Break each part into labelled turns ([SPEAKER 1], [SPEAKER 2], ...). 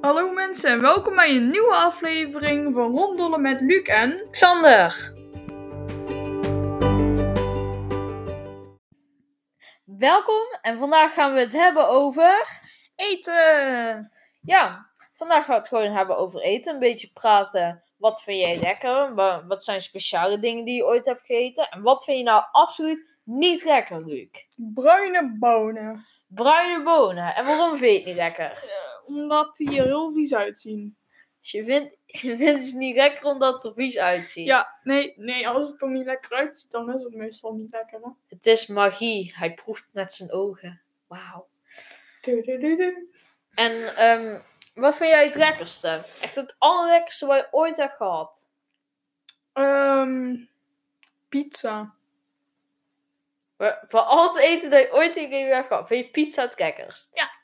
[SPEAKER 1] Hallo mensen en welkom bij een nieuwe aflevering van Rondollen met Luc en...
[SPEAKER 2] Xander. Welkom en vandaag gaan we het hebben over.
[SPEAKER 1] Eten!
[SPEAKER 2] Ja, vandaag gaan we het gewoon hebben over eten. Een beetje praten. Wat vind jij lekker? Wa- Wat zijn speciale dingen die je ooit hebt gegeten? En wat vind je nou absoluut niet lekker, Luc?
[SPEAKER 1] Bruine bonen.
[SPEAKER 2] Bruine bonen. En waarom vind je het niet lekker?
[SPEAKER 1] Omdat die er heel vies uitzien.
[SPEAKER 2] Dus je vindt, je vindt het niet lekker omdat het er vies uitziet.
[SPEAKER 1] Ja, nee, nee, als het er niet lekker uitziet, dan is het meestal niet lekker. Hè?
[SPEAKER 2] Het is magie. Hij proeft met zijn ogen. Wauw.
[SPEAKER 1] Tudududu.
[SPEAKER 2] En ehm, wat vind jij het lekkerste? Echt het allerlekkerste wat je ooit hebt gehad?
[SPEAKER 1] Ehm, pizza.
[SPEAKER 2] Wa- Van al het eten dat je ooit in je leven hebt gehad, vind je pizza het lekkerst?
[SPEAKER 1] Ja.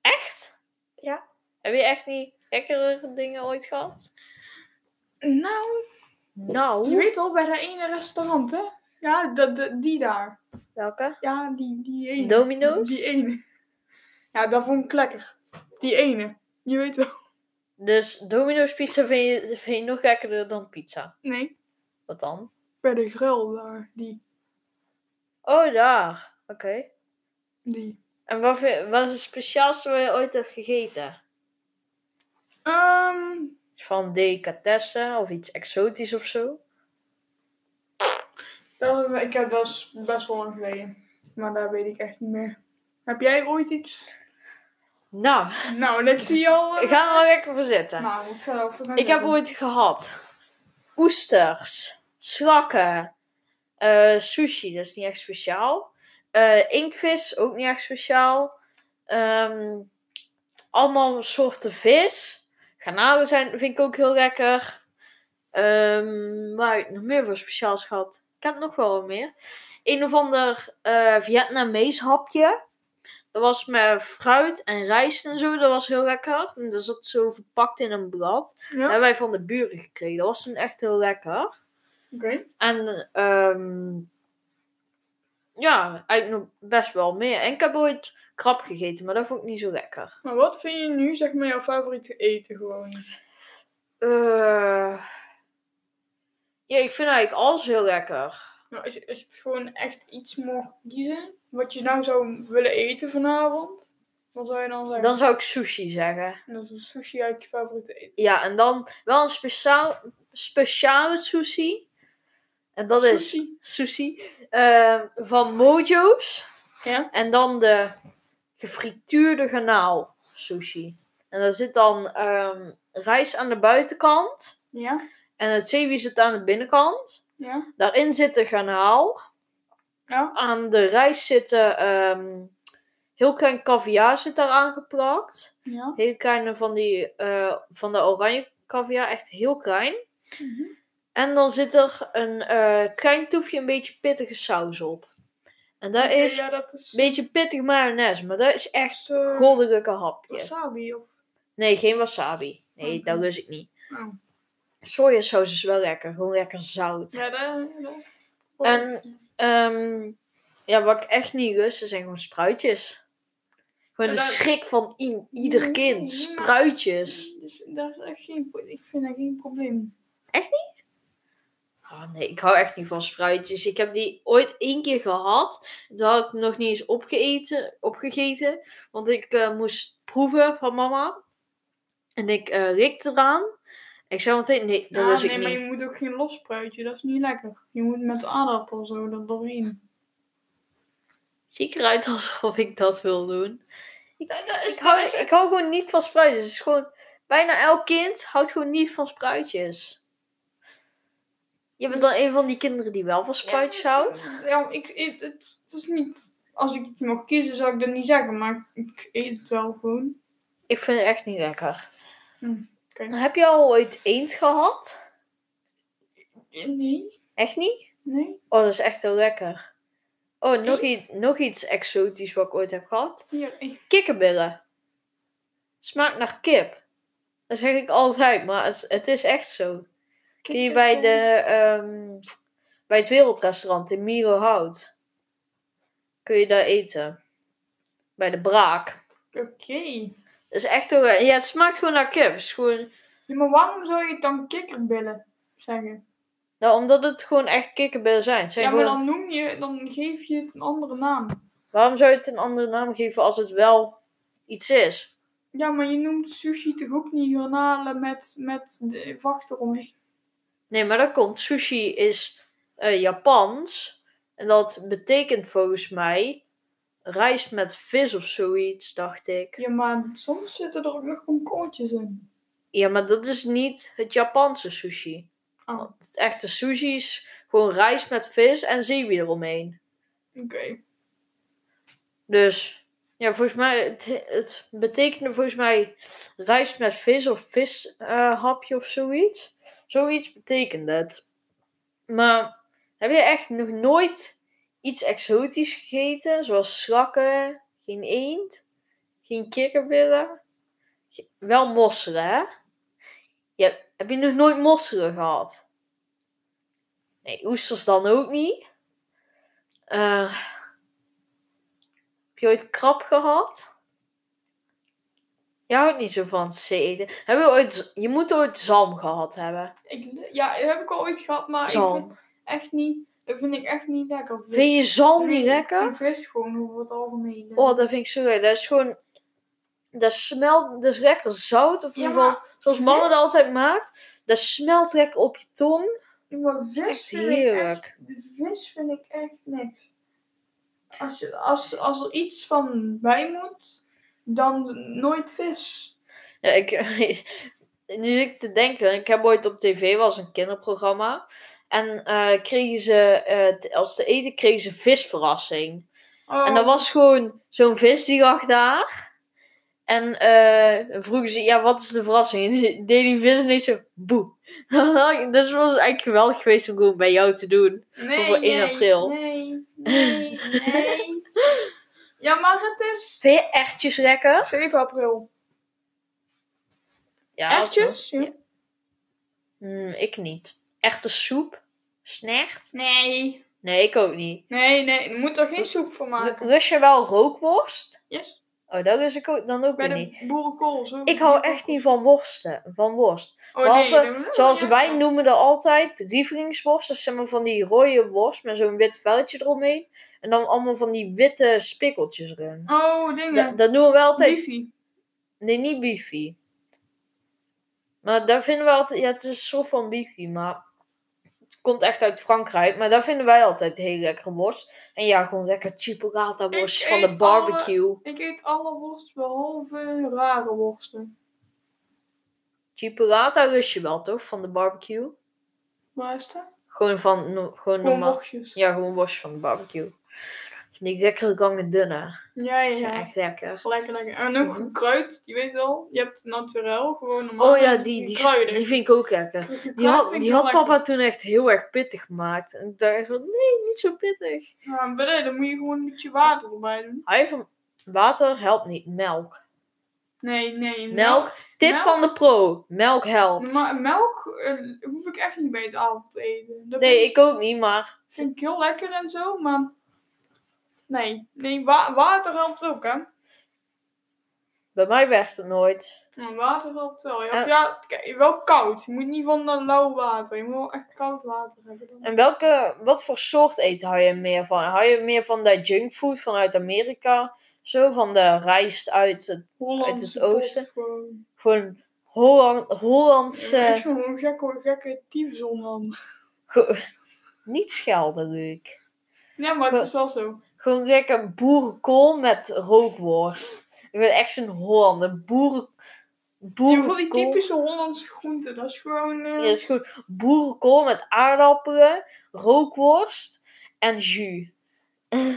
[SPEAKER 2] Echt?
[SPEAKER 1] Ja.
[SPEAKER 2] Heb je echt niet lekkere dingen ooit gehad?
[SPEAKER 1] Nou, je
[SPEAKER 2] Nou,
[SPEAKER 1] weet al, bij dat ene restaurant, hè? Oh. Ja, dat dat- die daar.
[SPEAKER 2] welke?
[SPEAKER 1] Ja, die, die ene.
[SPEAKER 2] Domino's?
[SPEAKER 1] Die ene. Ja, dat vond ik lekker. Die ene. Je weet wel.
[SPEAKER 2] Dus Domino's pizza vind je, vind je nog lekkerder dan pizza.
[SPEAKER 1] Nee,
[SPEAKER 2] Wat dan?
[SPEAKER 1] bij de grill daar. Die.
[SPEAKER 2] Oh, daar. Oké.
[SPEAKER 1] Die.
[SPEAKER 2] En wat, vind, wat is het speciaalste wat je ooit hebt gegeten?
[SPEAKER 1] Ehm,
[SPEAKER 2] Van delicatessen of iets exotisch of zo?
[SPEAKER 1] dat, ik heb dat is best wel lang geleden. Maar daar weet ik echt niet meer. Heb jij ooit iets?
[SPEAKER 2] Nou,
[SPEAKER 1] Nou, dat zie je al. eh,
[SPEAKER 2] ik ga er wel lekker voor zitten.
[SPEAKER 1] Nou, ik ga over
[SPEAKER 2] Ik heb ooit gehad oesters, slakken, eh, sushi, dat is niet echt speciaal. Eh, inktvis, ook niet echt speciaal. Ehm, allemaal soorten vis. Garnalen zijn, vind ik ook heel lekker. Ehm maar heb ik nog meer voor speciaals gehad. Ik heb nog wel wat meer. Een of ander eh Vietnamees hapje. Dat was met fruit en rijst en zo. Dat was heel lekker. En dat zat zo verpakt in een blad. Dat
[SPEAKER 1] Ja,
[SPEAKER 2] hebben wij van de buren gekregen. Dat was toen echt heel lekker.
[SPEAKER 1] oké.
[SPEAKER 2] En ehm ja, eigenlijk nog best wel meer. En ik heb ooit krab gegeten, maar dat vond ik niet zo lekker.
[SPEAKER 1] Maar wat vind je nu, zeg maar, jouw favoriete eten gewoon?
[SPEAKER 2] Eh, ja, ik vind eigenlijk alles heel lekker.
[SPEAKER 1] Nou, als je echt gewoon echt iets mocht kiezen, wat je nou zou willen eten vanavond, wat zou je dan zeggen?
[SPEAKER 2] Dan zou ik sushi zeggen.
[SPEAKER 1] En dat is sushi eigenlijk je favoriete eten.
[SPEAKER 2] Ja, en dan wel een speciaal, speciale sushi. En dat is
[SPEAKER 1] Sushi.
[SPEAKER 2] sushi eh, van Mojo's.
[SPEAKER 1] Ja?
[SPEAKER 2] En dan de gefrituurde garnaal sushi. En daar zit dan ehm, rijst aan de buitenkant.
[SPEAKER 1] Ja?
[SPEAKER 2] En het zeewier zit aan de binnenkant.
[SPEAKER 1] Ja?
[SPEAKER 2] Daarin zit de garnaal.
[SPEAKER 1] Ja?
[SPEAKER 2] Aan de rijst zitten ehm, heel klein caviar zit daar aangeplakt.
[SPEAKER 1] Ja?
[SPEAKER 2] Heel kleine van, die, eh, van de oranje caviar. Echt heel klein.
[SPEAKER 1] Mhm.
[SPEAKER 2] En dan zit er een eh, klein toefje een beetje pittige saus op. En daar
[SPEAKER 1] Oké,
[SPEAKER 2] is
[SPEAKER 1] Ja,
[SPEAKER 2] een
[SPEAKER 1] dat is...
[SPEAKER 2] beetje pittig mayonaise. Maar dat is echt
[SPEAKER 1] is, eh,
[SPEAKER 2] goddelijke hapjes.
[SPEAKER 1] wasabi of...
[SPEAKER 2] Nee, geen wasabi. Nee,
[SPEAKER 1] Oké.
[SPEAKER 2] dat lust ik niet.
[SPEAKER 1] Oh.
[SPEAKER 2] Sojasaus is wel lekker. Gewoon lekker zout.
[SPEAKER 1] Ja, dat... dat...
[SPEAKER 2] En- Ehm, ja, wat ik echt niet lust, dat zijn gewoon spruitjes. Gewoon
[SPEAKER 1] Ja,
[SPEAKER 2] de
[SPEAKER 1] dat- Mm,
[SPEAKER 2] schrik van i- ieder
[SPEAKER 1] Nee,
[SPEAKER 2] kind.
[SPEAKER 1] maar-
[SPEAKER 2] Spruitjes.
[SPEAKER 1] Dus dat is echt geen... pro- Ik vind dat geen probleem.
[SPEAKER 2] Oh, nee, ik hou echt niet van spruitjes. Ik heb die ooit één keer gehad. Dat had ik nog niet eens opgeeten, opgegeten. Want ik eh, moest proeven van mama. En ik eh likte eraan. Ik zei meteen, nee, dat
[SPEAKER 1] Ja,
[SPEAKER 2] lust
[SPEAKER 1] nee,
[SPEAKER 2] ik
[SPEAKER 1] maar
[SPEAKER 2] niet.
[SPEAKER 1] je moet ook geen los spruitje. Dat is niet lekker. Je moet met aardappel zo er doorheen.
[SPEAKER 2] Zie ik eruit alsof ik dat wil doen. Ik, ik, hou, ik hou gewoon niet van spruitjes. Het is gewoon, bijna elk kind houdt gewoon niet van spruitjes.
[SPEAKER 1] Dus-
[SPEAKER 2] Je bent dan een van die kinderen die wel van spruitjes houdt.
[SPEAKER 1] Ja, ik, ik- het, het is niet... Als ik iets mag kiezen, zou ik dat niet zeggen. Maar ik eet het wel gewoon.
[SPEAKER 2] Ik vind het echt niet lekker.
[SPEAKER 1] Hm, oké.
[SPEAKER 2] Heb je al ooit eend gehad?
[SPEAKER 1] Nee.
[SPEAKER 2] Echt niet?
[SPEAKER 1] Nee.
[SPEAKER 2] Oh, dat is echt heel lekker. Oh, nog,
[SPEAKER 1] Eend?
[SPEAKER 2] iets, nog iets exotisch wat ik ooit heb gehad.
[SPEAKER 1] Hier, ik...
[SPEAKER 2] Kikkerbillen. Smaakt naar kip. Dat zeg ik altijd, maar het, het is echt zo. Die je bij, de, ehm, bij het wereldrestaurant in Miro houdt. Kun je daar eten. Bij de braak.
[SPEAKER 1] Oké.
[SPEAKER 2] Dat is echt heel raar. Ja, het smaakt gewoon naar kip. Het is gewoon,
[SPEAKER 1] Ja, maar waarom zou je het dan kikkerbillen zeggen?
[SPEAKER 2] nou, omdat het gewoon echt kikkerbillen zijn. Het zijn
[SPEAKER 1] Ja, maar
[SPEAKER 2] gewoon-
[SPEAKER 1] dan noem je, dan geef je het een andere naam.
[SPEAKER 2] Waarom zou je het een andere naam geven als het wel iets is?
[SPEAKER 1] Ja, maar je noemt sushi toch ook niet garnalen met, met de vacht eromheen?
[SPEAKER 2] Nee, maar dat komt. Sushi is eh, Japans. En dat betekent volgens mij rijst met vis of zoiets, dacht ik.
[SPEAKER 1] Ja, maar soms zitten er ook nog komkoortjes in.
[SPEAKER 2] Ja, maar dat is niet het Japanse sushi.
[SPEAKER 1] Ah, oké.
[SPEAKER 2] Want het echte sushi is gewoon rijst met vis en zeewier eromheen. Dus ja, volgens mij, het, het betekende volgens mij rijst met vis of vishapje of zoiets. Zoiets betekende het. Maar heb je echt nog nooit iets exotisch gegeten? Zoals slakken, geen eend, geen kikkerbillen? Ge- Wel mosselen, hè? Ja, heb je nog nooit mosselen gehad? Nee, oesters dan ook niet. Eh... Heb je ooit krab gehad? Jij houdt niet zo van zee eten. Heb je, ooit, je moet ooit zalm gehad hebben.
[SPEAKER 1] Ik, ja, dat heb ik al ooit gehad, maar ik vind
[SPEAKER 2] Zalm.
[SPEAKER 1] echt niet, dat vind ik echt niet lekker. Vis-
[SPEAKER 2] Vind je zalm
[SPEAKER 1] Nee,
[SPEAKER 2] niet
[SPEAKER 1] ik vind
[SPEAKER 2] lekker?
[SPEAKER 1] vis gewoon over het algemeen.
[SPEAKER 2] Oh, dat vind ik zo lekker. Dat is gewoon... Dat smelt, dat is lekker zout. Of in
[SPEAKER 1] Ja,
[SPEAKER 2] ieder geval, zoals mama
[SPEAKER 1] vis-
[SPEAKER 2] dat altijd maakt. Dat smelt lekker op je tong.
[SPEAKER 1] Ja, maar vis
[SPEAKER 2] Echt
[SPEAKER 1] vind ik echt,
[SPEAKER 2] heerlijk.
[SPEAKER 1] de vis vind ik echt niks. Als, je, als, als er iets van bij moet, dan nooit vis.
[SPEAKER 2] Ja, ik, nu zit ik te denken. Ik heb ooit op tv, was een kinderprogramma. En eh, kregen ze, eh, t- als te eten, kregen ze visverrassing.
[SPEAKER 1] Oh,
[SPEAKER 2] En dat was gewoon zo'n vis die lag daar. En eh vroegen ze, ja, wat is de verrassing? En die- deed die vis ineens zo, boe. dus het was eigenlijk geweldig geweest om gewoon bij jou te doen.
[SPEAKER 1] nee,
[SPEAKER 2] voor 1
[SPEAKER 1] nee,
[SPEAKER 2] april.
[SPEAKER 1] Nee, nee, nee. ja, maar het is
[SPEAKER 2] Vind je ertjes lekker?
[SPEAKER 1] 7 april.
[SPEAKER 2] Ja, als-
[SPEAKER 1] Erwtjes?
[SPEAKER 2] Mm, ik niet. Echte soep? Snecht?
[SPEAKER 1] Nee.
[SPEAKER 2] Nee, ik ook niet.
[SPEAKER 1] Nee, nee, je moet er geen soep van maken.
[SPEAKER 2] Rus je wel rookworst?
[SPEAKER 1] Yes.
[SPEAKER 2] Oh, dat is ik ook, dan ook
[SPEAKER 1] Bij
[SPEAKER 2] weer niet.
[SPEAKER 1] de boerenkool. Zo
[SPEAKER 2] Ik hou echt niet van worsten. Van worst.
[SPEAKER 1] Oh,
[SPEAKER 2] Behalve,
[SPEAKER 1] dan-
[SPEAKER 2] zoals wij noemen dat altijd, lievelingsworst. Dat zijn maar van die rode worst met zo'n wit velletje eromheen. En dan allemaal van die witte spikkeltjes erin.
[SPEAKER 1] Oh,
[SPEAKER 2] Da-
[SPEAKER 1] dingen.
[SPEAKER 2] dat noemen we altijd...
[SPEAKER 1] Bifi.
[SPEAKER 2] Nee, niet bifi. Maar daar vinden we altijd... Ja, het is een soort van bifi, maar... Het komt echt uit Frankrijk. Maar daar vinden wij altijd heel lekkere worst. En ja, gewoon lekker chipolata worst
[SPEAKER 1] Ik
[SPEAKER 2] van de
[SPEAKER 1] eet alle-
[SPEAKER 2] barbecue.
[SPEAKER 1] Ik eet alle worst behalve rare worsten.
[SPEAKER 2] Chipolata lust je wel, toch? Van de barbecue.
[SPEAKER 1] Waar is dat?
[SPEAKER 2] Gewoon van... no- gewoon
[SPEAKER 1] Gewoon
[SPEAKER 2] normaal.
[SPEAKER 1] worstjes.
[SPEAKER 2] Ja, gewoon worst van de barbecue. Van Die lekkere lange dunne.
[SPEAKER 1] Ja, ja,
[SPEAKER 2] Die zijn
[SPEAKER 1] ja.
[SPEAKER 2] echt lekker.
[SPEAKER 1] Lekker, lekker. En ook kruid, je weet wel. Je hebt naturel, gewoon normaal.
[SPEAKER 2] Oh ja, die, die,
[SPEAKER 1] kruiden.
[SPEAKER 2] die vind ik ook lekker.
[SPEAKER 1] Kruid
[SPEAKER 2] Die had,
[SPEAKER 1] vind ik
[SPEAKER 2] die
[SPEAKER 1] heel
[SPEAKER 2] had
[SPEAKER 1] lekker.
[SPEAKER 2] papa toen echt heel erg pittig gemaakt. En ik dacht van, nee, niet zo pittig.
[SPEAKER 1] Ja, maar nee, dan moet je gewoon een beetje water erbij doen.
[SPEAKER 2] Hij van, water helpt niet, melk.
[SPEAKER 1] Nee, nee.
[SPEAKER 2] Melk, tip
[SPEAKER 1] melk-
[SPEAKER 2] van de pro, melk helpt.
[SPEAKER 1] Maar melk eh, hoef ik echt niet bij het avondeten. Dat
[SPEAKER 2] Nee,
[SPEAKER 1] vind,
[SPEAKER 2] ik ook niet, maar
[SPEAKER 1] vind ik heel lekker en zo, maar... Nee, nee wa- water helpt ook, hè.
[SPEAKER 2] bij mij werkt het nooit.
[SPEAKER 1] Ja, water helpt wel. Ja,
[SPEAKER 2] En-
[SPEAKER 1] of ja, kijk, wel koud. Je moet niet van dat lauw water. Je moet wel echt koud water hebben. Dan.
[SPEAKER 2] En welke, wat voor soort eten hou je meer van? Hou je meer van dat junkfood vanuit Amerika? Zo van de rijst uit het
[SPEAKER 1] Hollandse
[SPEAKER 2] het oosten.
[SPEAKER 1] pot gewoon.
[SPEAKER 2] Gewoon Holland,
[SPEAKER 1] Het
[SPEAKER 2] Hollandse.
[SPEAKER 1] is gewoon gekke, gekke tyfzon dan.
[SPEAKER 2] Ge- niet schelden, Luc.
[SPEAKER 1] Ja, maar het is wel zo.
[SPEAKER 2] Gewoon lekker boerenkool met rookworst. Ik ben echt zo'n Hollander. Boeren,
[SPEAKER 1] Ja, voor die
[SPEAKER 2] boerenkool.
[SPEAKER 1] typische Hollandse groenten. Dat is gewoon... eh,
[SPEAKER 2] Ja, is goed. Boerenkool met aardappelen, rookworst en jus.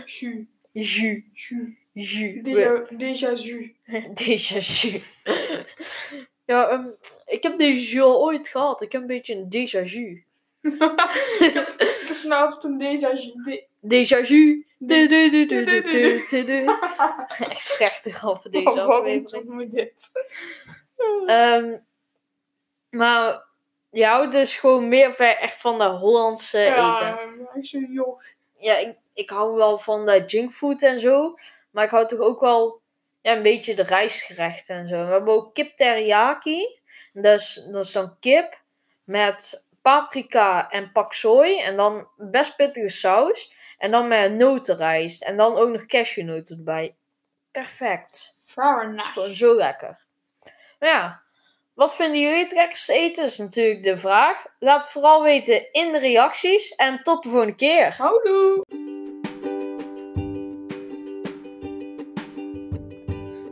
[SPEAKER 1] jus.
[SPEAKER 2] Jus,
[SPEAKER 1] Jus.
[SPEAKER 2] jus.
[SPEAKER 1] Déjà- Déjà jus.
[SPEAKER 2] Deze jus. ja, ehm, ik heb deze jus al ooit gehad. Ik heb een beetje een déjà vu.
[SPEAKER 1] Ik heb vanavond een déjà jus. De-
[SPEAKER 2] Déjà vu.
[SPEAKER 1] de-
[SPEAKER 2] Echt slechte grap voor deze
[SPEAKER 1] Oh, waarom
[SPEAKER 2] aflevering.
[SPEAKER 1] doen we dit?
[SPEAKER 2] Ehm, maar je houdt dus gewoon meer ver echt van de Hollandse Eh, eten.
[SPEAKER 1] Ja, maar ik zo'n jog.
[SPEAKER 2] Ja, ik, ik hou wel van de junkfood en zo. Maar ik hou toch ook wel ja, een beetje de rijstgerechten en zo. We hebben ook kip teriyaki. Dat is, dat is dan kip met paprika en pak sooi. En dan best pittige saus. En dan met notenrijst. En dan ook nog cashewnoten erbij. Perfect.
[SPEAKER 1] Very
[SPEAKER 2] Dat is
[SPEAKER 1] nice.
[SPEAKER 2] Gewoon zo lekker. Maar ja, wat vinden jullie het lekkerste eten? Is natuurlijk de vraag. Laat het vooral weten in de reacties. En tot de volgende keer.
[SPEAKER 1] Houdoe!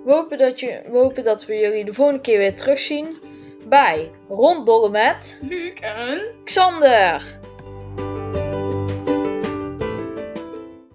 [SPEAKER 2] We hopen dat, je, we hopen dat we jullie de volgende keer weer terugzien bij Ronddollen met
[SPEAKER 1] Luc en
[SPEAKER 2] Xander.